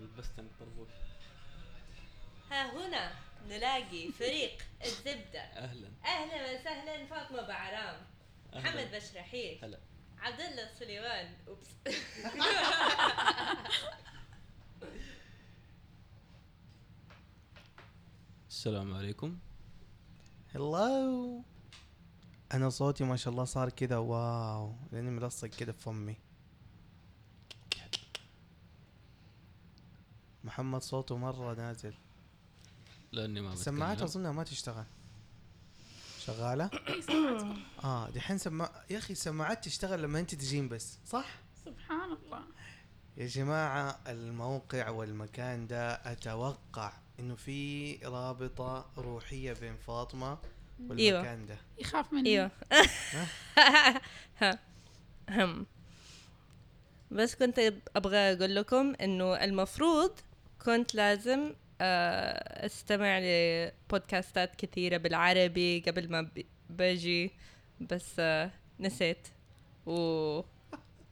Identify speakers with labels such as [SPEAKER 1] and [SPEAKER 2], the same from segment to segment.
[SPEAKER 1] لبستني الطربوش
[SPEAKER 2] ها هنا نلاقي فريق الزبدة
[SPEAKER 1] اهلا
[SPEAKER 2] أهلا وسهلا فاطمة بعرام
[SPEAKER 1] أهلاً.
[SPEAKER 2] محمد بشرحيل
[SPEAKER 1] هلا
[SPEAKER 2] عبد الله سليمان اوبس
[SPEAKER 1] السلام عليكم
[SPEAKER 3] هلو انا صوتي ما شاء الله صار كذا واو لاني ملصق كذا في فمي محمد صوته مره نازل
[SPEAKER 1] لاني ما
[SPEAKER 3] السماعات
[SPEAKER 1] بتكلم.
[SPEAKER 3] اظنها ما تشتغل شغاله
[SPEAKER 4] اي سمعتكم
[SPEAKER 3] اه دحين سما يا اخي السماعات تشتغل لما انت تجين بس صح
[SPEAKER 4] سبحان الله
[SPEAKER 3] يا جماعه الموقع والمكان ده اتوقع انه في رابطه روحيه بين فاطمه
[SPEAKER 2] إيوه.
[SPEAKER 3] والمكان ده
[SPEAKER 4] يخاف مني
[SPEAKER 2] ايوه ها. هم بس كنت ابغى اقول لكم انه المفروض كنت لازم آه، استمع لبودكاستات كثيرة بالعربي قبل ما ب- باجي بس آه، نسيت و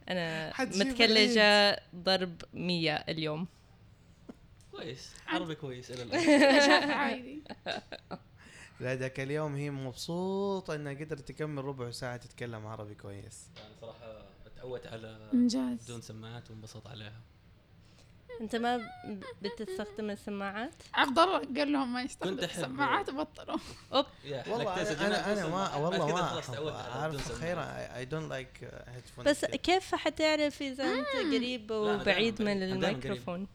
[SPEAKER 2] انا
[SPEAKER 3] حتجيب
[SPEAKER 2] متكلجة ضرب مية اليوم
[SPEAKER 1] كويس عربي كويس الى الان
[SPEAKER 4] شايفة عادي
[SPEAKER 3] لا ذاك اليوم هي مبسوطة انها قدرت تكمل ربع ساعة تتكلم عربي كويس
[SPEAKER 1] يعني صراحه اتعودت على
[SPEAKER 4] انجاز
[SPEAKER 1] بدون سماعات وانبسط عليها
[SPEAKER 2] انت ما ب- بتستخدم السماعات
[SPEAKER 4] عبد الله قال لهم ما
[SPEAKER 1] كنت
[SPEAKER 4] يستخدم
[SPEAKER 1] أحب-
[SPEAKER 4] سماعات بطلوا
[SPEAKER 1] يا
[SPEAKER 3] والله
[SPEAKER 1] حلقتين
[SPEAKER 3] انا
[SPEAKER 1] سجلناها
[SPEAKER 3] انا, أنا
[SPEAKER 1] بدون سماعات.
[SPEAKER 3] ما والله
[SPEAKER 1] بعد كده
[SPEAKER 3] ما
[SPEAKER 1] خلاص
[SPEAKER 3] أحب.
[SPEAKER 1] تعودت على بدون
[SPEAKER 3] اعرف خير
[SPEAKER 1] سماعات.
[SPEAKER 3] اي دونت لايك هيدفون
[SPEAKER 2] بس كيف حتعرف اذا
[SPEAKER 4] آه.
[SPEAKER 2] انت قريب
[SPEAKER 1] أنا دايماً
[SPEAKER 2] وبعيد من
[SPEAKER 1] قريب. أنا دايماً قريب.
[SPEAKER 2] الميكروفون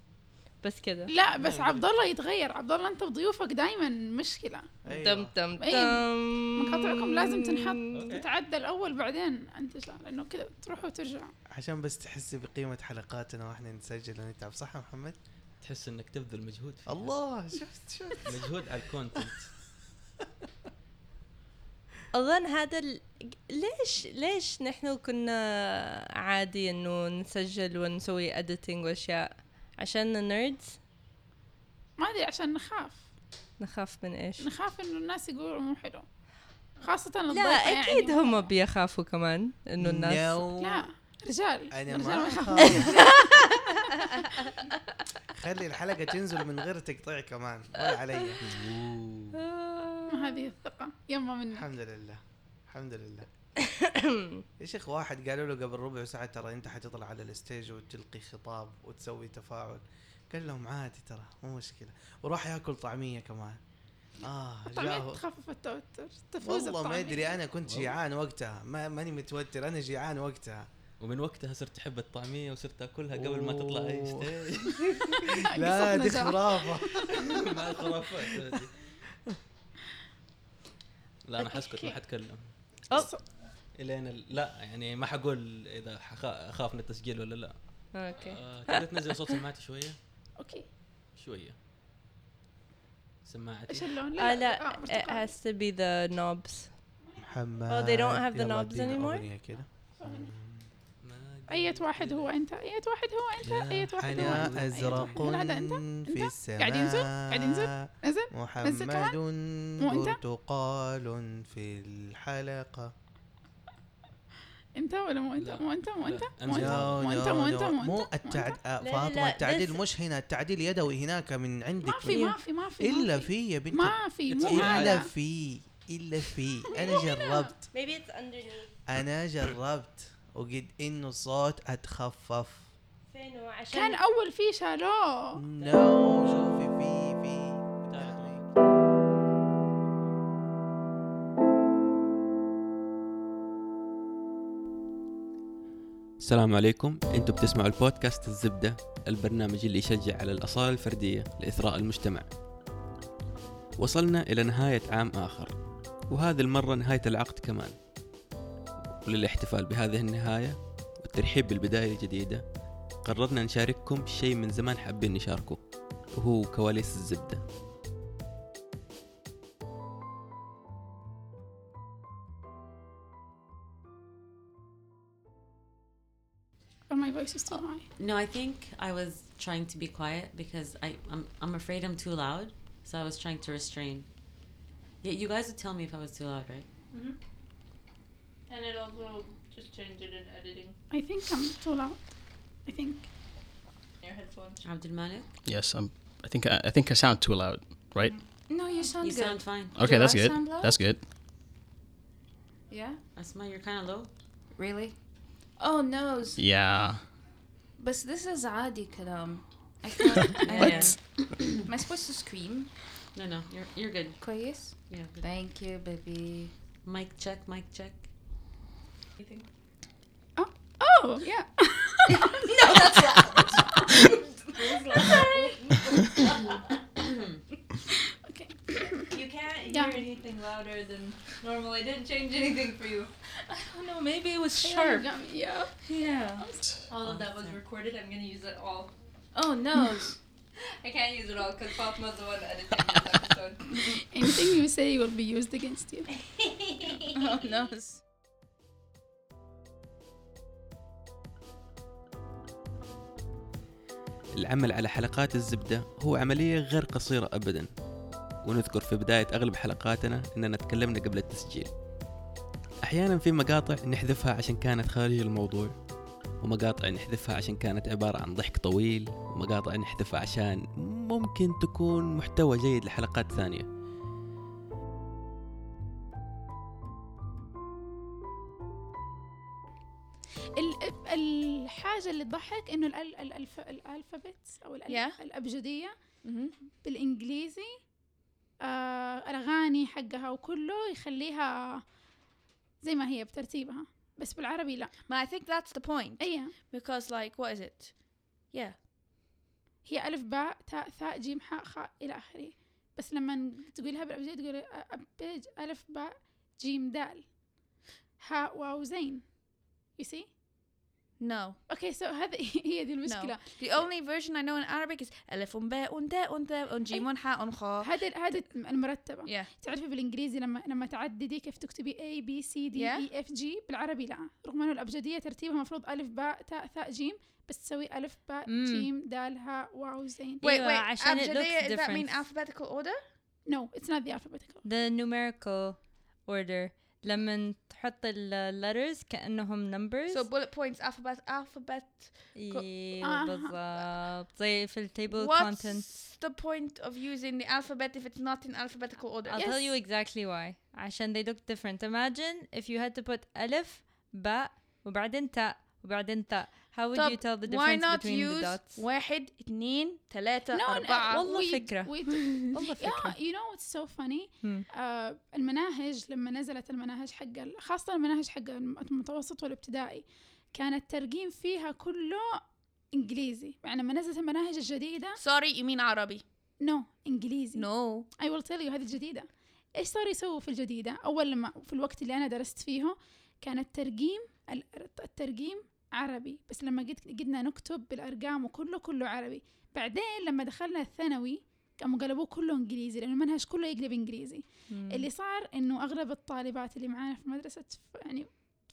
[SPEAKER 2] بس كذا
[SPEAKER 4] لا بس
[SPEAKER 3] نعم.
[SPEAKER 4] عبد الله يتغير عبد الله انت وضيوفك دايما مشكله
[SPEAKER 1] أيوة.
[SPEAKER 2] دم دم
[SPEAKER 4] أي،
[SPEAKER 2] دم
[SPEAKER 4] إيه. مقاطعكم لازم
[SPEAKER 1] أوكي.
[SPEAKER 4] تنحط تتعدل اول بعدين انتشر لانه كذا تروح وترجع
[SPEAKER 3] عشان بس تحسي بقيمة حلقاتنا واحنا نسجل ونتعب صح يا محمد؟
[SPEAKER 1] تحس انك تبذل مجهود فيها.
[SPEAKER 3] الله شفت شفت
[SPEAKER 1] مجهود على الكونتنت
[SPEAKER 2] اظن هذا ال... ليش ليش نحن كنا عادي انه نسجل ونسوي اديتنج واشياء عشان النيردز
[SPEAKER 4] ما ادري عشان نخاف
[SPEAKER 2] نخاف من ايش
[SPEAKER 4] نخاف انه الناس يقولوا مو حلو خاصة
[SPEAKER 2] لا
[SPEAKER 4] الضيفة يعني
[SPEAKER 2] اكيد
[SPEAKER 4] مو-
[SPEAKER 2] هم بيخافوا كمان انه الناس
[SPEAKER 3] No.
[SPEAKER 4] لا رجال
[SPEAKER 3] انا
[SPEAKER 4] رجال
[SPEAKER 3] ما
[SPEAKER 4] يخافوا.
[SPEAKER 3] أخاف. خلي الحلقة تنزل من غير تقطيع كمان ولا علي
[SPEAKER 4] ما هذه الثقة يما منك
[SPEAKER 3] الحمد لله الحمد لله يا شيخ واحد قالوا له قبل ربع ساعة ترى أنت حتطلع على الستيج وتلقي خطاب وتسوي تفاعل قال لهم عادي ترى مو مشكلة وراح ياكل طعمية كمان آه
[SPEAKER 4] طبيعي
[SPEAKER 3] جاه
[SPEAKER 4] تخفف التوتر تفوز
[SPEAKER 3] والله ما
[SPEAKER 4] الطعمية.
[SPEAKER 3] أدري أنا كنت
[SPEAKER 1] والله.
[SPEAKER 3] جيعان وقتها ما ماني متوتر أنا جيعان وقتها
[SPEAKER 1] ومن وقتها صرت احب الطعميه وصرت اكلها قبل ما تطلع اي ستيج
[SPEAKER 3] لا
[SPEAKER 4] قصتنا
[SPEAKER 3] دي
[SPEAKER 4] زهر.
[SPEAKER 3] خرافة
[SPEAKER 1] مع الخرافات هذه. لا انا حسكت ما حتكلم
[SPEAKER 2] أوب.
[SPEAKER 1] الين ال- لا يعني ما حقول اذا حخا- اخاف من التسجيل ولا لا
[SPEAKER 2] اوكي
[SPEAKER 1] آه، تقدر تنزل صوت سماعتي شويه
[SPEAKER 4] اوكي
[SPEAKER 1] شويه
[SPEAKER 4] ايش
[SPEAKER 1] سماعتي
[SPEAKER 4] اللون
[SPEAKER 2] آه
[SPEAKER 4] آه،
[SPEAKER 2] لا it
[SPEAKER 4] برتقالي.
[SPEAKER 2] has to be the knobs
[SPEAKER 3] محمد
[SPEAKER 2] Oh, they don't have the
[SPEAKER 3] يلا
[SPEAKER 2] knobs
[SPEAKER 3] ادينا
[SPEAKER 2] anymore?
[SPEAKER 3] أغنية كده
[SPEAKER 2] آه،
[SPEAKER 1] ما
[SPEAKER 4] اية
[SPEAKER 1] قلت
[SPEAKER 4] واحد هو انت اية واحد هو
[SPEAKER 1] يا
[SPEAKER 4] انت اية واحد هو انت
[SPEAKER 1] حنان. أيوة.
[SPEAKER 3] أنا أزرق
[SPEAKER 4] هل هذا أنت؟
[SPEAKER 3] في
[SPEAKER 4] أنت؟
[SPEAKER 3] السماء
[SPEAKER 4] قاعد ينزل؟ قاعد ينزل؟ نزل نزل
[SPEAKER 3] محمد
[SPEAKER 4] كمان؟ مو أنت؟
[SPEAKER 3] برتقال في الحلقة
[SPEAKER 4] انت ولا مو انت
[SPEAKER 1] لا.
[SPEAKER 4] مو انت مو
[SPEAKER 1] لا.
[SPEAKER 4] انت مو انت
[SPEAKER 1] أنزل.
[SPEAKER 3] لا،
[SPEAKER 4] مو انت
[SPEAKER 3] لا،
[SPEAKER 4] مو انت
[SPEAKER 3] لا.
[SPEAKER 4] مو
[SPEAKER 3] مو
[SPEAKER 4] انت
[SPEAKER 3] التعد آه،
[SPEAKER 2] لا،
[SPEAKER 3] فاطمة
[SPEAKER 2] لا،
[SPEAKER 3] التعديل
[SPEAKER 2] this-
[SPEAKER 3] مش هنا التعديل يدوي هناك من
[SPEAKER 4] ما
[SPEAKER 3] عندك
[SPEAKER 4] في ما في ما في ما
[SPEAKER 3] إلا
[SPEAKER 4] في
[SPEAKER 3] في يا بنت
[SPEAKER 4] ما في مو
[SPEAKER 3] إلا
[SPEAKER 4] هذا
[SPEAKER 3] في إلا في أنا جربت
[SPEAKER 2] maybe it's underneath
[SPEAKER 3] أنا جربت وقد إنه الصوت أتخفف
[SPEAKER 2] فين هو
[SPEAKER 4] كان
[SPEAKER 2] عشان
[SPEAKER 4] اول في شالوه
[SPEAKER 3] نو شوفي في في
[SPEAKER 1] تعال. السلام عليكم انتم بتسمعوا البودكاست الزبدة البرنامج اللي يشجع على الأصالة الفردية لإثراء المجتمع وصلنا إلى نهاية عام آخر وهذه المرة نهاية العقد كمان وللاحتفال بهذه النهاية والترحيب بالبداية الجديدة قررنا نشارككم شيء من زمان حابين نشاركه وهو كواليس الزبدة
[SPEAKER 4] Oh, my voice is too high
[SPEAKER 5] No, I think I was trying to be quiet because I, I'm, I'm afraid I'm too loud. So I was trying to restrain. Yeah, you guys would tell me if I was too loud, right?
[SPEAKER 6] And it also just changed it in editing.
[SPEAKER 4] I think I'm too loud I think
[SPEAKER 6] your headphones.
[SPEAKER 2] Uh,
[SPEAKER 5] Abdul Malik,
[SPEAKER 7] Yes, I'm. I think uh, I, I think I sound too loud, right?
[SPEAKER 4] No, you sound
[SPEAKER 5] you
[SPEAKER 4] good.
[SPEAKER 5] sound fine.
[SPEAKER 7] Okay,
[SPEAKER 4] Do
[SPEAKER 7] that's
[SPEAKER 4] I
[SPEAKER 7] good.
[SPEAKER 4] sound loud?
[SPEAKER 7] That's good.
[SPEAKER 4] yeah.
[SPEAKER 5] Asma, you're kind of low.
[SPEAKER 4] Really? Oh nose.
[SPEAKER 7] Yeah.
[SPEAKER 4] But this is عادي كلام. I can't. I-
[SPEAKER 7] What?
[SPEAKER 4] Am I supposed to scream?
[SPEAKER 5] No, no, you're you're good.
[SPEAKER 4] كويس.
[SPEAKER 5] Yeah, good.
[SPEAKER 4] Thank you, baby.
[SPEAKER 5] Mic check, mic check.
[SPEAKER 6] Anything?
[SPEAKER 4] Oh yeah. no, that's loud. okay.
[SPEAKER 6] You can't
[SPEAKER 4] Yeah.
[SPEAKER 6] hear anything louder than normal. I didn't change anything for you.
[SPEAKER 2] I don't know. Maybe it was
[SPEAKER 4] Sure.
[SPEAKER 2] sharp.
[SPEAKER 4] Yeah.
[SPEAKER 6] Yeah. All of that was recorded. I'm gonna use it all.
[SPEAKER 4] Oh nose.
[SPEAKER 6] I can't use it all because Fatma's the one editing this episode.
[SPEAKER 4] Anything you say will be used against you.
[SPEAKER 2] Oh nose.
[SPEAKER 1] العمل على حلقات الزبدة هو عملية غير قصيرة أبدا ونذكر في بداية أغلب حلقاتنا أننا تكلمنا قبل التسجيل أحيانا في مقاطع نحذفها عشان كانت خارج الموضوع ومقاطع نحذفها عشان كانت عبارة عن ضحك طويل ومقاطع نحذفها عشان ممكن تكون محتوى جيد لحلقات ثانية
[SPEAKER 4] ال- الحاجة اللي تضحك انه الأل- ال- الف- الالفابت او الأل-
[SPEAKER 2] Yeah.
[SPEAKER 4] الابجدية بالانجليزي آه، الاغاني حقها وكله يخليها زي ما هي بترتيبها بس بالعربي لا إيه،
[SPEAKER 8] But I think that's the point
[SPEAKER 4] اي
[SPEAKER 8] because, like, what is it? Yeah.
[SPEAKER 4] هي الف باء تاء ثاء جيم حاء خاء الى اخره بس لما تقولها بالابجدية تقول أ- أبج الف باء جيم دال هاء واو زين you see
[SPEAKER 8] No.
[SPEAKER 4] اوكي سو هذا هي دي المشكلة
[SPEAKER 8] The only version I know in Arabic is ألف باء تاء تاء جيم حاء خاء.
[SPEAKER 4] هذا هذا المرتبة
[SPEAKER 8] Yeah.
[SPEAKER 4] تعرفي بالانجليزي لما لما تعددي كيف تكتبي A B C D
[SPEAKER 8] Yeah.
[SPEAKER 4] E F G بالعربي لا رغم انه الابجدية ترتيبها المفروض الف باء تاء ثاء جيم بس تسوي الف باء
[SPEAKER 8] Mm.
[SPEAKER 4] جيم دال هاء واو زين
[SPEAKER 8] Wait,
[SPEAKER 2] Yeah,
[SPEAKER 8] wait.
[SPEAKER 2] عشان it looks
[SPEAKER 8] Abjadiyya, does that mean
[SPEAKER 2] different.
[SPEAKER 8] alphabetical order?
[SPEAKER 4] نو اتس نوت ذا alphabetical
[SPEAKER 2] the numerical order لما تحط ال letters كأنهم numbers
[SPEAKER 8] So bullet points, alphabet, alphabet.
[SPEAKER 2] ايوه
[SPEAKER 8] Ah.
[SPEAKER 4] آه.
[SPEAKER 2] بالضبط زي في التable
[SPEAKER 8] What's
[SPEAKER 2] content
[SPEAKER 8] the point of using the alphabet if it's not in alphabetical order?
[SPEAKER 2] I'll tell you exactly why عشان they look different imagine if you had to put ألف باء وبعدين تاء وبعدين تاء how would you tell the
[SPEAKER 8] why
[SPEAKER 2] difference
[SPEAKER 8] not
[SPEAKER 2] between the
[SPEAKER 8] use
[SPEAKER 2] dots
[SPEAKER 8] واحد اثنين ثلاثة
[SPEAKER 4] No,
[SPEAKER 8] أربعة
[SPEAKER 2] والله
[SPEAKER 4] we-
[SPEAKER 2] فكرة.
[SPEAKER 4] we-
[SPEAKER 2] والله
[SPEAKER 4] yeah,
[SPEAKER 2] فكرة
[SPEAKER 4] you know what's so funny
[SPEAKER 2] Hmm.
[SPEAKER 4] آه المناهج لما نزلت المناهج حق ال- خاصة المناهج حق الم- المتوسط والابتدائي كان الترقيم فيها كله انجليزي يعني لما نزلت المناهج الجديدة
[SPEAKER 8] sorry you mean عربي
[SPEAKER 4] نو no, انجليزي
[SPEAKER 8] no
[SPEAKER 4] اي ويل تيل يو هذه الجديده ايش صار يسووا في الجديده اول لما في الوقت اللي انا درست فيه كان الترقيم ال- الترقيم عربي بس لما قد قدنا نكتب بالارقام وكله كله عربي بعدين لما دخلنا الثانوي قاموا قلبوه كله انجليزي لانه المنهج كله يقلب انجليزي
[SPEAKER 2] مم.
[SPEAKER 4] اللي صار انه اغلب الطالبات اللي معانا في مدرسه ف- يعني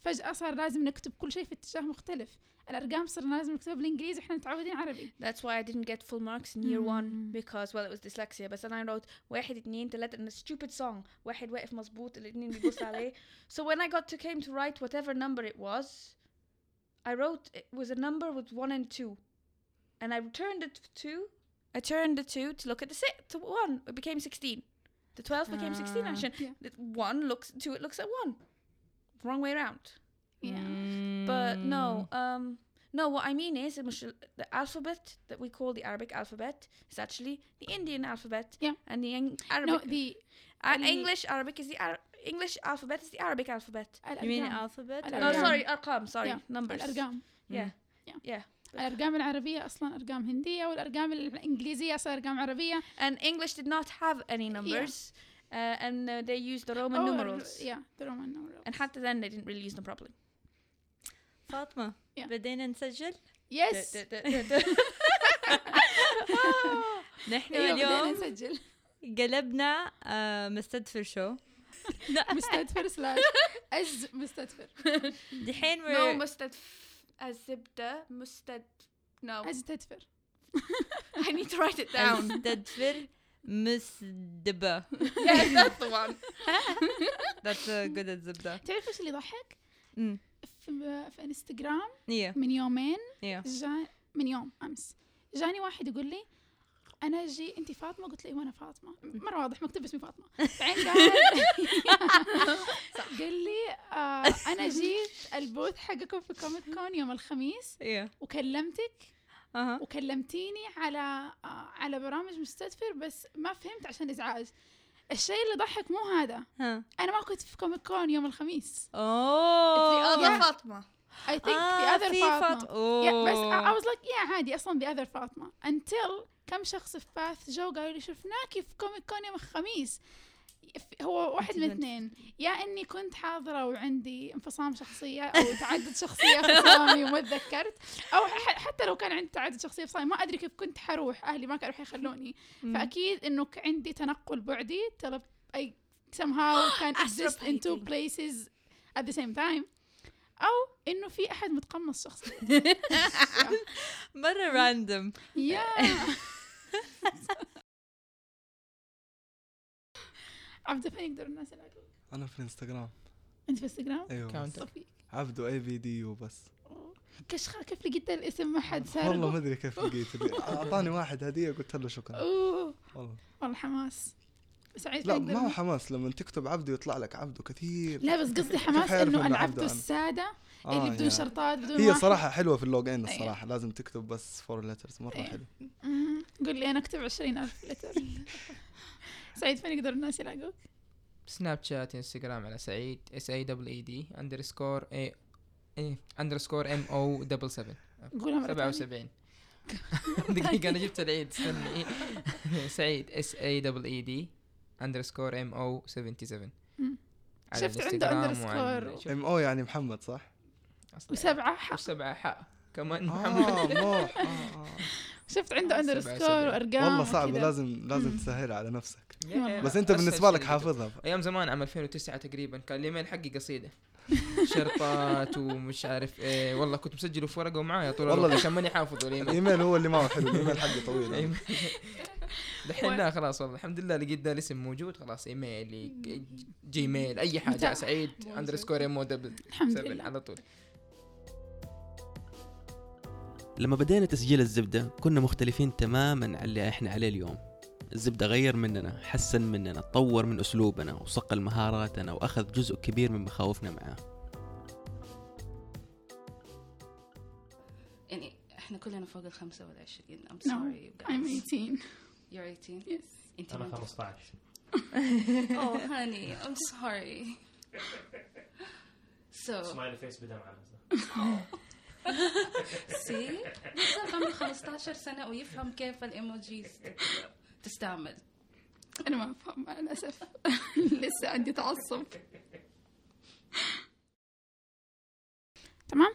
[SPEAKER 4] فجاه صار لازم نكتب كل شيء في اتجاه مختلف الارقام صرنا لازم نكتبها بالانجليزي احنا متعودين عربي
[SPEAKER 8] That's why I didn't get full marks in year one
[SPEAKER 4] Mm.
[SPEAKER 8] because well it was dyslexia but then I wrote واحد اتنين تلاتة in a stupid song واحد واقف مظبوط الاتنين بيبص عليه so when I got to came to write whatever number it was I wrote it was a number with one and two and I turned it to I turned the two to look at the six to one it became 16 the 12 became 16
[SPEAKER 2] Ah.
[SPEAKER 8] عشان
[SPEAKER 4] Yeah.
[SPEAKER 8] the one looks two it looks at one wrong way around
[SPEAKER 2] Mm.
[SPEAKER 4] yeah.
[SPEAKER 2] Hmm.
[SPEAKER 8] but no,
[SPEAKER 4] Mm.
[SPEAKER 8] um, no. What I mean is, it was- the alphabet that we call the Arabic alphabet is actually the Indian alphabet.
[SPEAKER 4] Yeah.
[SPEAKER 8] And the Eng-
[SPEAKER 4] no
[SPEAKER 8] Arabic,
[SPEAKER 4] the
[SPEAKER 8] uh,
[SPEAKER 4] the-
[SPEAKER 8] English Arabic is the Ar- English alphabet is the Arabic alphabet.
[SPEAKER 2] you mean
[SPEAKER 4] الأرقام.
[SPEAKER 2] alphabet
[SPEAKER 4] No,
[SPEAKER 2] or- Oh,
[SPEAKER 8] No,
[SPEAKER 4] Arqam.
[SPEAKER 8] sorry, arqam. Sorry,
[SPEAKER 4] Yeah,
[SPEAKER 8] numbers.
[SPEAKER 4] الارقام
[SPEAKER 8] Yeah,
[SPEAKER 4] الأرقام العربية أصلا أرقام هندية والأرقام الإنجليزية أصلا أرقام عربية
[SPEAKER 8] and English did not have any numbers, uh, and uh, they used the Roman
[SPEAKER 4] أو ال-
[SPEAKER 8] numerals.
[SPEAKER 4] Oh, yeah, the Roman numerals.
[SPEAKER 8] And حتى then they didn't really use them properly.
[SPEAKER 2] فاطمة
[SPEAKER 4] Yeah.
[SPEAKER 2] بدينا نسجل
[SPEAKER 4] Yes.
[SPEAKER 2] نحن
[SPEAKER 4] أيوة، بدينا
[SPEAKER 2] اليوم
[SPEAKER 4] نسجل
[SPEAKER 2] قلبنا آه، مستدفر شو
[SPEAKER 4] مستدفر سلاش أز مستدفر
[SPEAKER 2] دحين
[SPEAKER 8] no,
[SPEAKER 2] we're-
[SPEAKER 8] mustad الزبدة mustad. No,
[SPEAKER 4] أز تدفر
[SPEAKER 8] I need to write it down.
[SPEAKER 2] مستدفر مسدبة
[SPEAKER 8] yes, that's the one.
[SPEAKER 2] That's a good الزبدة
[SPEAKER 4] تعرف إيش اللي ضحك؟
[SPEAKER 2] أمم.
[SPEAKER 4] في, في انستغرام
[SPEAKER 2] yeah
[SPEAKER 4] من يومين
[SPEAKER 2] yeah
[SPEAKER 4] جاء من يوم أمس جاني واحد يقول لي انا جي انت فاطمه قلت له ايوه انا فاطمه مره واضح مكتوب اسمي فاطمه بعدين قال قال لي آه انا جيت البوث حقكم في كوميك كون يوم الخميس
[SPEAKER 2] ايه
[SPEAKER 4] وكلمتك Uh-huh.
[SPEAKER 2] اها
[SPEAKER 4] وكلمتيني على آه، على برامج مستدفر بس ما فهمت عشان ازعاج الشيء اللي ضحك مو هذا
[SPEAKER 2] ها
[SPEAKER 4] انا ما كنت في كوميك كون يوم الخميس
[SPEAKER 2] اوه
[SPEAKER 4] It's the Oh,
[SPEAKER 8] انا
[SPEAKER 4] Yeah.
[SPEAKER 8] فاطمه
[SPEAKER 4] I think the
[SPEAKER 2] آه،
[SPEAKER 4] other Fatma yeah, بس I
[SPEAKER 2] اوه
[SPEAKER 4] was like yeah عادي اصلا the other Fatma until كم شخص في باث جو قالوا لي شفناكي في كوميك كون يوم الخميس ف- هو واحد من
[SPEAKER 2] أنت بنت.
[SPEAKER 4] اثنين يا اني كنت حاضره وعندي انفصام شخصيه او تعدد شخصيه انفصامي وما تذكرت او ح- حتى لو كان عندي تعدد شخصيه انفصامي ما ادري كيف كنت حروح اهلي ما كانوا حيخلوني فاكيد انه ك- عندي تنقل بعدي تلب اي somehow كان exist in two places at the same time او انه في احد متقمص شخص
[SPEAKER 2] مره راندوم
[SPEAKER 4] يا عبده فين يقدر الناس يلاقوك؟
[SPEAKER 9] انا في الانستغرام
[SPEAKER 4] انت في انستغرام؟
[SPEAKER 9] ايوه
[SPEAKER 3] كاونتر.
[SPEAKER 4] صفي
[SPEAKER 9] عبدو اي بي دي يو بس
[SPEAKER 4] كشخة كيف لقيت الاسم ما حد
[SPEAKER 9] والله ما
[SPEAKER 4] سارقه؟
[SPEAKER 9] ادري كيف لقيت اعطاني واحد هديه قلت له شكرا
[SPEAKER 4] اوه
[SPEAKER 9] والله
[SPEAKER 4] والله حماس سعيد
[SPEAKER 9] لا
[SPEAKER 4] يقدر
[SPEAKER 9] ما هو حماس لما تكتب عبدو يطلع لك عبدو كثير
[SPEAKER 4] لا بس قصدي حماس
[SPEAKER 9] حيعرف
[SPEAKER 4] انه
[SPEAKER 9] إنه
[SPEAKER 4] انا
[SPEAKER 9] عبده
[SPEAKER 4] عبده
[SPEAKER 9] أنا؟
[SPEAKER 4] الساده
[SPEAKER 9] آه،
[SPEAKER 4] اللي بدون
[SPEAKER 9] يا.
[SPEAKER 4] شرطات بدون
[SPEAKER 9] هي
[SPEAKER 4] واحد.
[SPEAKER 9] صراحة حلوة في اللوج ان
[SPEAKER 4] أيوة.
[SPEAKER 9] الصراحة لازم تكتب بس فور ليترز مرة
[SPEAKER 4] أيوة.
[SPEAKER 9] حلو
[SPEAKER 4] مم. قول لي انا اكتب 20000 لتر سعيد فين يقدر الناس يلاقوك؟
[SPEAKER 10] سناب شات انستغرام على سعيد اس اي دبل
[SPEAKER 2] E
[SPEAKER 10] اي دي اندرسكور اي اندرسكور ام او دبل 7
[SPEAKER 4] قولها مرة ثانية.
[SPEAKER 10] 77 دقيقة انا جبت العيد استني سعيد اس اي دبل
[SPEAKER 2] E
[SPEAKER 10] اي دي اندرسكور ام او 77
[SPEAKER 4] مم.
[SPEAKER 10] على
[SPEAKER 4] شفت عنده
[SPEAKER 10] الانستغرام وعلى-
[SPEAKER 4] underscore.
[SPEAKER 10] شوف
[SPEAKER 9] ام او يعني محمد صح؟
[SPEAKER 10] أصلاً.
[SPEAKER 4] وسبعة حق.
[SPEAKER 10] وسبعة حق كمان
[SPEAKER 9] اه
[SPEAKER 10] محمد
[SPEAKER 9] موح آه، آه.
[SPEAKER 4] شفت عنده
[SPEAKER 10] سبعة
[SPEAKER 4] اندرسكور
[SPEAKER 10] سبعة.
[SPEAKER 4] وارقام
[SPEAKER 9] والله صعبة
[SPEAKER 4] وكذا.
[SPEAKER 9] لازم لازم
[SPEAKER 4] مم.
[SPEAKER 9] تسهلها على نفسك
[SPEAKER 10] Yeah.
[SPEAKER 9] بس انت
[SPEAKER 10] أسهل
[SPEAKER 9] بالنسبة لك
[SPEAKER 10] شيء.
[SPEAKER 9] حافظها
[SPEAKER 10] ايام زمان عام 2009 تقريبا كان الايميل حقي قصيده شرطات ومش عارف ايه والله كنت مسجله في ورقه ومعايا طول
[SPEAKER 9] والله
[SPEAKER 10] الوقت
[SPEAKER 9] لا.
[SPEAKER 10] عشان ماني حافظه الايميل
[SPEAKER 9] الايميل هو اللي ما هو حلو الايميل حقه طويل
[SPEAKER 10] إيميل. دحين لا خلاص والله الحمد لله لقيت ده الاسم موجود خلاص ايميلي ج- جيميل اي حاجه
[SPEAKER 4] متاح.
[SPEAKER 10] سعيد
[SPEAKER 4] موجود.
[SPEAKER 10] اندرسكور ام دبل
[SPEAKER 4] الحمد
[SPEAKER 10] سبعة
[SPEAKER 4] لله
[SPEAKER 10] على طول
[SPEAKER 1] لما بدينا تسجيل الزبدة كنا مختلفين تماما عن اللي احنا عليه اليوم الزبدة غير مننا حسن مننا طور من أسلوبنا وصقل مهاراتنا وأخذ جزء كبير من مخاوفنا معاه
[SPEAKER 6] يعني احنا كلنا فوق ال 25 I'm
[SPEAKER 4] No,
[SPEAKER 6] sorry you guys
[SPEAKER 4] I'm 18
[SPEAKER 6] You're 18
[SPEAKER 4] yes
[SPEAKER 6] انت
[SPEAKER 11] انا
[SPEAKER 6] ما أنت-
[SPEAKER 11] 15
[SPEAKER 6] Oh honey I'm sorry So
[SPEAKER 11] سمايلي فيس بدم على
[SPEAKER 6] see بالضبط عمره 15 سنة ويفهم كيف الايموجيز تستعمل
[SPEAKER 4] انا ما افهم مع الاسف لسه عندي تعصب تمام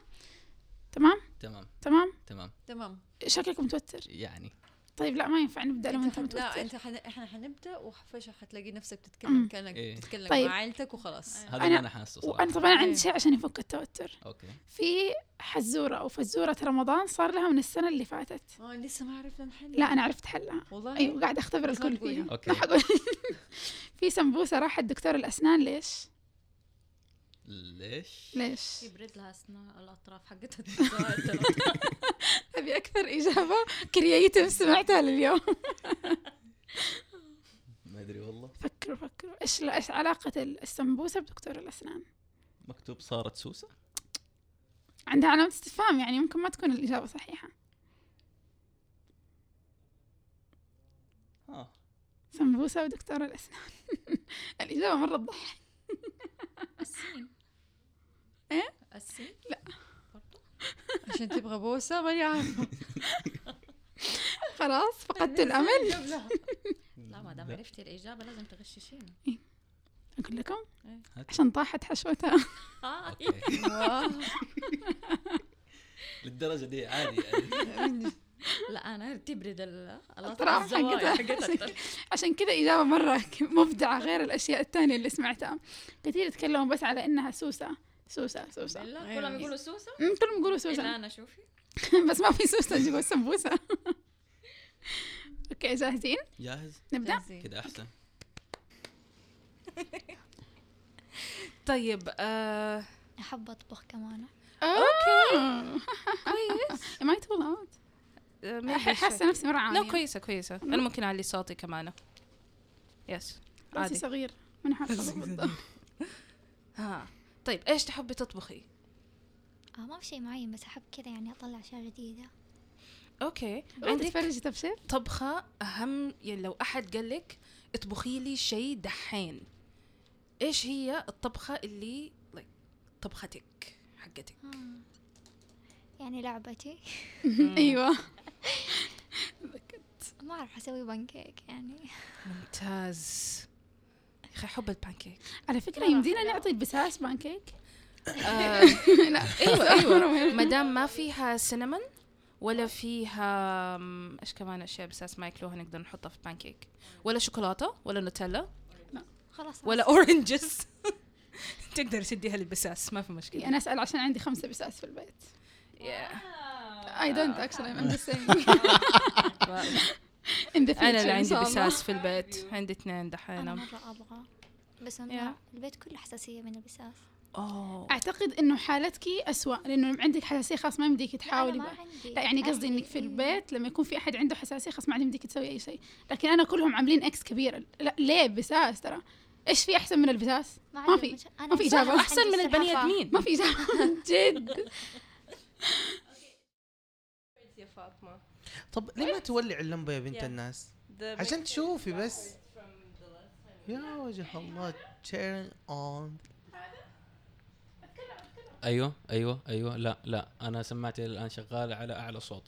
[SPEAKER 4] تمام
[SPEAKER 7] تمام
[SPEAKER 4] تمام
[SPEAKER 7] تمام
[SPEAKER 5] تمام
[SPEAKER 4] شكلك متوتر
[SPEAKER 7] يعني
[SPEAKER 4] طيب لا ما ينفع نبدا لما انت
[SPEAKER 5] لا
[SPEAKER 4] متوتر
[SPEAKER 5] انت حن... احنا حنبدا وفجاه حتلاقي نفسك
[SPEAKER 4] أمم.
[SPEAKER 5] تتكلم كانك
[SPEAKER 7] إيه.
[SPEAKER 5] بتتكلم
[SPEAKER 4] طيب.
[SPEAKER 5] مع عيلتك وخلاص
[SPEAKER 7] هذا اللي انا حاسه صراحة
[SPEAKER 4] وانا طبعا عندي شيء عشان يفك التوتر
[SPEAKER 7] اوكي
[SPEAKER 4] في حزوره او فزوره رمضان صار لها من السنه اللي فاتت
[SPEAKER 5] اه لسه ما عرفنا نحل
[SPEAKER 4] لا انا عرفت حلها
[SPEAKER 5] والله
[SPEAKER 6] أيوة.
[SPEAKER 4] ايوه قاعد اختبر
[SPEAKER 5] بس ما
[SPEAKER 4] الكل
[SPEAKER 5] تقولي.
[SPEAKER 4] فيها
[SPEAKER 7] أوكي.
[SPEAKER 4] ما حقول في سمبوسه راحت دكتور الاسنان ليش؟
[SPEAKER 7] ليش؟
[SPEAKER 4] ليش؟
[SPEAKER 5] يبرد لها أسنان الاطراف حقتها
[SPEAKER 4] هذه اكثر اجابه كرييتيف سمعتها لليوم
[SPEAKER 7] ما ادري والله
[SPEAKER 4] فكروا فكروا ايش ايش علاقه السمبوسه بدكتور الاسنان؟
[SPEAKER 7] مكتوب صارت سوسه
[SPEAKER 4] عندها علامه استفهام يعني يمكن ما تكون الاجابه صحيحه
[SPEAKER 7] ها
[SPEAKER 3] آه.
[SPEAKER 4] سمبوسه ودكتور الاسنان الاجابه مره تضحك
[SPEAKER 5] السين
[SPEAKER 4] إيه؟
[SPEAKER 5] السين
[SPEAKER 4] لا.
[SPEAKER 5] برضو؟ عشان تبغى بوسه ماني عارفه
[SPEAKER 4] خلاص فقدت الامل
[SPEAKER 5] لا ما دام عرفتي الاجابه لازم تغششينا
[SPEAKER 4] اقول لكم
[SPEAKER 5] إيه.
[SPEAKER 4] عشان طاحت حشوتها
[SPEAKER 2] آه.
[SPEAKER 5] اه
[SPEAKER 7] أوكي. للدرجه دي عادي يعني
[SPEAKER 5] لا انا تبرد ال-
[SPEAKER 4] أطراف
[SPEAKER 5] الاطراف الزوايا
[SPEAKER 4] حقتها.
[SPEAKER 5] حقتها أكتر.
[SPEAKER 4] عشان كذا إجابة مرة مبدعة غير الأشياء الثانية اللي سمعتها كثير يتكلموا بس على إنها سوسة سوسة سوسة
[SPEAKER 5] بالله
[SPEAKER 4] أمم،
[SPEAKER 5] كلهم يقولوا سوسه
[SPEAKER 4] كلهم يقولوا
[SPEAKER 5] الا
[SPEAKER 4] سوسة
[SPEAKER 5] انا شوفي
[SPEAKER 4] بس ما في سوسة جوا السمبوسة أوكي جاهزين
[SPEAKER 7] جاهز
[SPEAKER 4] نبدأ
[SPEAKER 5] زين.
[SPEAKER 7] كده احسن
[SPEAKER 6] طيب آه
[SPEAKER 4] أوكي كويس am I too loud
[SPEAKER 6] آه، maybe
[SPEAKER 4] حاسة
[SPEAKER 6] شوي.
[SPEAKER 4] نفسي مرة عالية.
[SPEAKER 6] لا كويسة كويسة أنا ممكن أعلي صوتي كمان يس
[SPEAKER 4] راسي
[SPEAKER 6] عادي
[SPEAKER 4] صغير من حرفة
[SPEAKER 6] ها طيب إيش تحبي تطبخي؟
[SPEAKER 11] آه ما في شيء معين بس أحب كذا يعني أطلع أشياء جديدة
[SPEAKER 6] أوكي
[SPEAKER 4] عندك
[SPEAKER 6] عندك
[SPEAKER 4] تفرجي تبشير
[SPEAKER 6] طبخة أهم يعني لو أحد قال لك اطبخي لي شيء دحين إيش هي الطبخة اللي like طبختك حقتك؟
[SPEAKER 11] آه. يعني لعبتي
[SPEAKER 4] ايوه
[SPEAKER 11] ما أعرف أسوي بانكيك يعني
[SPEAKER 6] ممتاز يا أخي أحب البانكيك
[SPEAKER 4] على فكرة يمدينا نعطي بساس بانكيك
[SPEAKER 6] آه،
[SPEAKER 4] لا
[SPEAKER 6] ايوه ايوه ما دام ما فيها سينمون ولا فيها أم، ايش كمان اشياء بساس ما ياكلوها نقدر نحطها في بانكيك ولا شوكولاته ولا نوتيلا
[SPEAKER 11] خلاص
[SPEAKER 6] ولا اورنجز تقدر تديها للبساس ما في مشكله
[SPEAKER 4] انا اسال عشان عندي خمسة بساس في البيت
[SPEAKER 6] Yeah. آه.
[SPEAKER 4] I don't actually I'm just saying In the future
[SPEAKER 6] انا
[SPEAKER 4] إن
[SPEAKER 6] اللي عندي
[SPEAKER 4] شاء الله.
[SPEAKER 6] بساس في البيت عندي اثنين
[SPEAKER 11] أنا
[SPEAKER 6] دحين
[SPEAKER 11] مرة أبغى بس
[SPEAKER 6] يا.
[SPEAKER 11] أنا البيت كله حساسية من البساس
[SPEAKER 6] اوه
[SPEAKER 4] اعتقد انه حالتك أسوأ لانه عندك حساسيه خلاص ما يمديك تحاولي
[SPEAKER 11] ما
[SPEAKER 4] بقى.
[SPEAKER 11] عندي.
[SPEAKER 4] لا يعني قصدي
[SPEAKER 11] أهلي،
[SPEAKER 4] انك في
[SPEAKER 11] إيه.
[SPEAKER 4] البيت لما يكون في احد عنده حساسيه خلاص ما عاد يمديك تسوي اي شيء لكن انا كلهم عاملين اكس كبيره لا ليه بساس ترى ايش في احسن من البساس ما
[SPEAKER 11] عندي
[SPEAKER 4] في
[SPEAKER 11] مش- أنا
[SPEAKER 4] ما في
[SPEAKER 11] مش-
[SPEAKER 4] اجابه
[SPEAKER 11] عندي
[SPEAKER 6] احسن من البني
[SPEAKER 11] السلحفاة.
[SPEAKER 6] ادمين
[SPEAKER 4] ما في اجابه جد
[SPEAKER 2] يا فاطمة
[SPEAKER 3] طب ليه ما تولع اللمبه يا بنت
[SPEAKER 2] Yeah.
[SPEAKER 3] الناس
[SPEAKER 2] The
[SPEAKER 3] عشان
[SPEAKER 2] mixer
[SPEAKER 3] تشوفي بس
[SPEAKER 2] backwards from the last time.
[SPEAKER 3] يا وجه الله turn on
[SPEAKER 1] ايوه ايوه ايوه لا لا انا سماعتي الان شغاله على اعلى صوت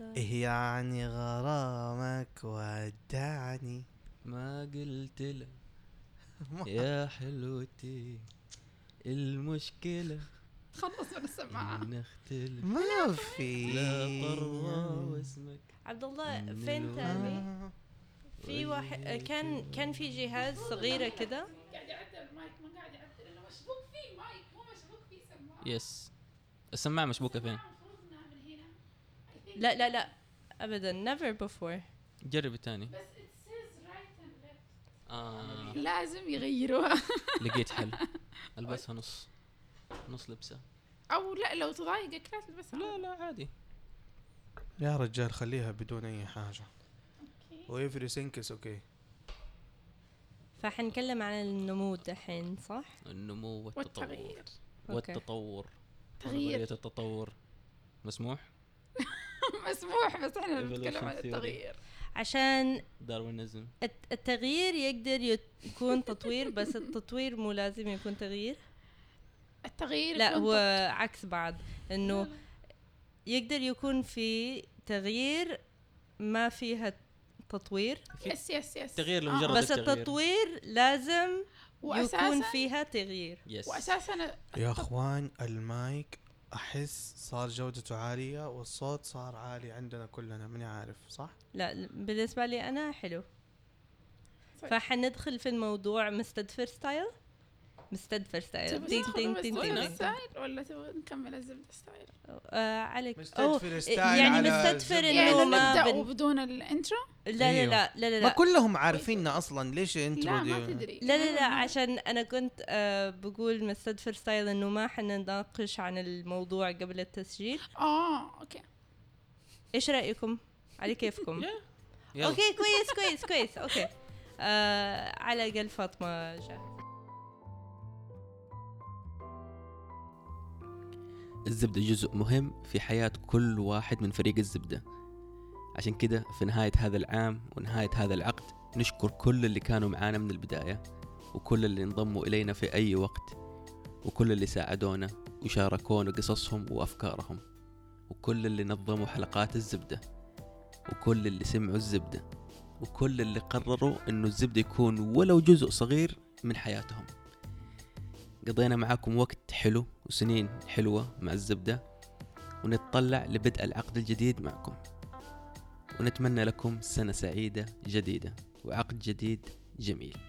[SPEAKER 3] إيه يعني غرامك ودعني
[SPEAKER 1] ما قلت لك يا حلوتي المشكلة
[SPEAKER 4] خلص من السماعه
[SPEAKER 1] إن اختلف
[SPEAKER 3] ما في
[SPEAKER 1] لا قرار واسمك
[SPEAKER 2] عبد الله
[SPEAKER 1] من
[SPEAKER 2] فين
[SPEAKER 1] الوراء.
[SPEAKER 2] تامي؟
[SPEAKER 3] آه.
[SPEAKER 2] في واحد كان كان في جهاز صغيرة كده
[SPEAKER 1] يس السماعة مشبوكة فين؟
[SPEAKER 2] لا لا لا أبدا never before
[SPEAKER 1] جرب الثاني آه
[SPEAKER 4] لازم يغيروها
[SPEAKER 1] لقيت حل البسها نص نص لبسة
[SPEAKER 4] او لا لو تضايقك لا تلبسها
[SPEAKER 1] لا لا عادي
[SPEAKER 3] يا رجال خليها بدون اي حاجه ويفري سينكس اوكي
[SPEAKER 2] فحنتكلم عن النمود الحين صح؟
[SPEAKER 1] النمو والتطور
[SPEAKER 4] والتغيير
[SPEAKER 2] أوكي.
[SPEAKER 1] والتطور
[SPEAKER 4] تغيير.
[SPEAKER 1] نظرية التطور مسموح
[SPEAKER 4] مسموح بس احنا
[SPEAKER 1] Evolution
[SPEAKER 4] بنتكلم عن
[SPEAKER 1] theory.
[SPEAKER 4] التغيير
[SPEAKER 2] عشان
[SPEAKER 1] داروينزم
[SPEAKER 2] الت- التغيير يقدر يت- يكون تطوير بس التطوير مو لازم يكون تغيير
[SPEAKER 4] التغيير
[SPEAKER 2] لا
[SPEAKER 4] يكون نعم.
[SPEAKER 2] هو عكس بعض انه يقدر يكون في تغيير ما فيها تطوير
[SPEAKER 4] يس يس يس
[SPEAKER 1] تغيير
[SPEAKER 4] آه.
[SPEAKER 1] لمجرد
[SPEAKER 2] بس
[SPEAKER 1] التغيير.
[SPEAKER 2] التطوير لازم يكون
[SPEAKER 4] واساسا
[SPEAKER 2] فيها تغيير
[SPEAKER 1] يس
[SPEAKER 4] واساسا
[SPEAKER 3] يا اخوان المايك احس صار جودته عاليه والصوت صار عالي عندنا كلنا ماني عارف صح
[SPEAKER 2] لا ل- بالنسبة لي أنا حلو
[SPEAKER 4] طيب.
[SPEAKER 2] فحندخل في الموضوع مستدفر ستايل مستدفر ستايل
[SPEAKER 4] تبغى
[SPEAKER 2] تين
[SPEAKER 4] تاخذ
[SPEAKER 2] تين
[SPEAKER 4] بس
[SPEAKER 2] تين
[SPEAKER 4] زبدة
[SPEAKER 2] تين تين.
[SPEAKER 4] ستايل ولا تبغى نكمل الزبدة ستايل
[SPEAKER 2] آه، عليك أوه،
[SPEAKER 3] مستدفر ستايل
[SPEAKER 2] يعني
[SPEAKER 3] على
[SPEAKER 2] مستدفر
[SPEAKER 3] زبدة.
[SPEAKER 4] يعني
[SPEAKER 2] انه ما
[SPEAKER 4] نبدأ
[SPEAKER 2] بن...
[SPEAKER 4] وبدون الانترو
[SPEAKER 2] لا لا
[SPEAKER 3] أيوه.
[SPEAKER 2] لا لا لا
[SPEAKER 3] ما
[SPEAKER 2] لا
[SPEAKER 3] كلهم عارفيننا اصلا ليش
[SPEAKER 4] لا
[SPEAKER 3] انترو
[SPEAKER 4] ما
[SPEAKER 3] دي
[SPEAKER 4] تدري آه،
[SPEAKER 2] لا لا لا عشان انا كنت آه بقول مستدفر ستايل انه ما حنناقش عن الموضوع قبل التسجيل
[SPEAKER 4] اه اوكي
[SPEAKER 2] ايش رايكم على كيفكم
[SPEAKER 1] يلا
[SPEAKER 2] اوكي كويس كويس كويس اوكي آه على الاقل فاطمه جاهزه
[SPEAKER 1] الزبدة جزء مهم في حياة كل واحد من فريق الزبدة عشان كده في نهاية هذا العام ونهاية هذا العقد نشكر كل اللي كانوا معانا من البداية وكل اللي انضموا إلينا في أي وقت وكل اللي ساعدونا وشاركونا قصصهم وأفكارهم وكل اللي نظموا حلقات الزبدة وكل اللي سمعوا الزبدة وكل اللي قرروا أنه الزبدة يكون ولو جزء صغير من حياتهم قضينا معاكم وقت حلو وسنين حلوة مع الزبدة ونتطلع لبدء العقد الجديد معكم ونتمنى لكم سنة سعيدة جديدة وعقد جديد جميل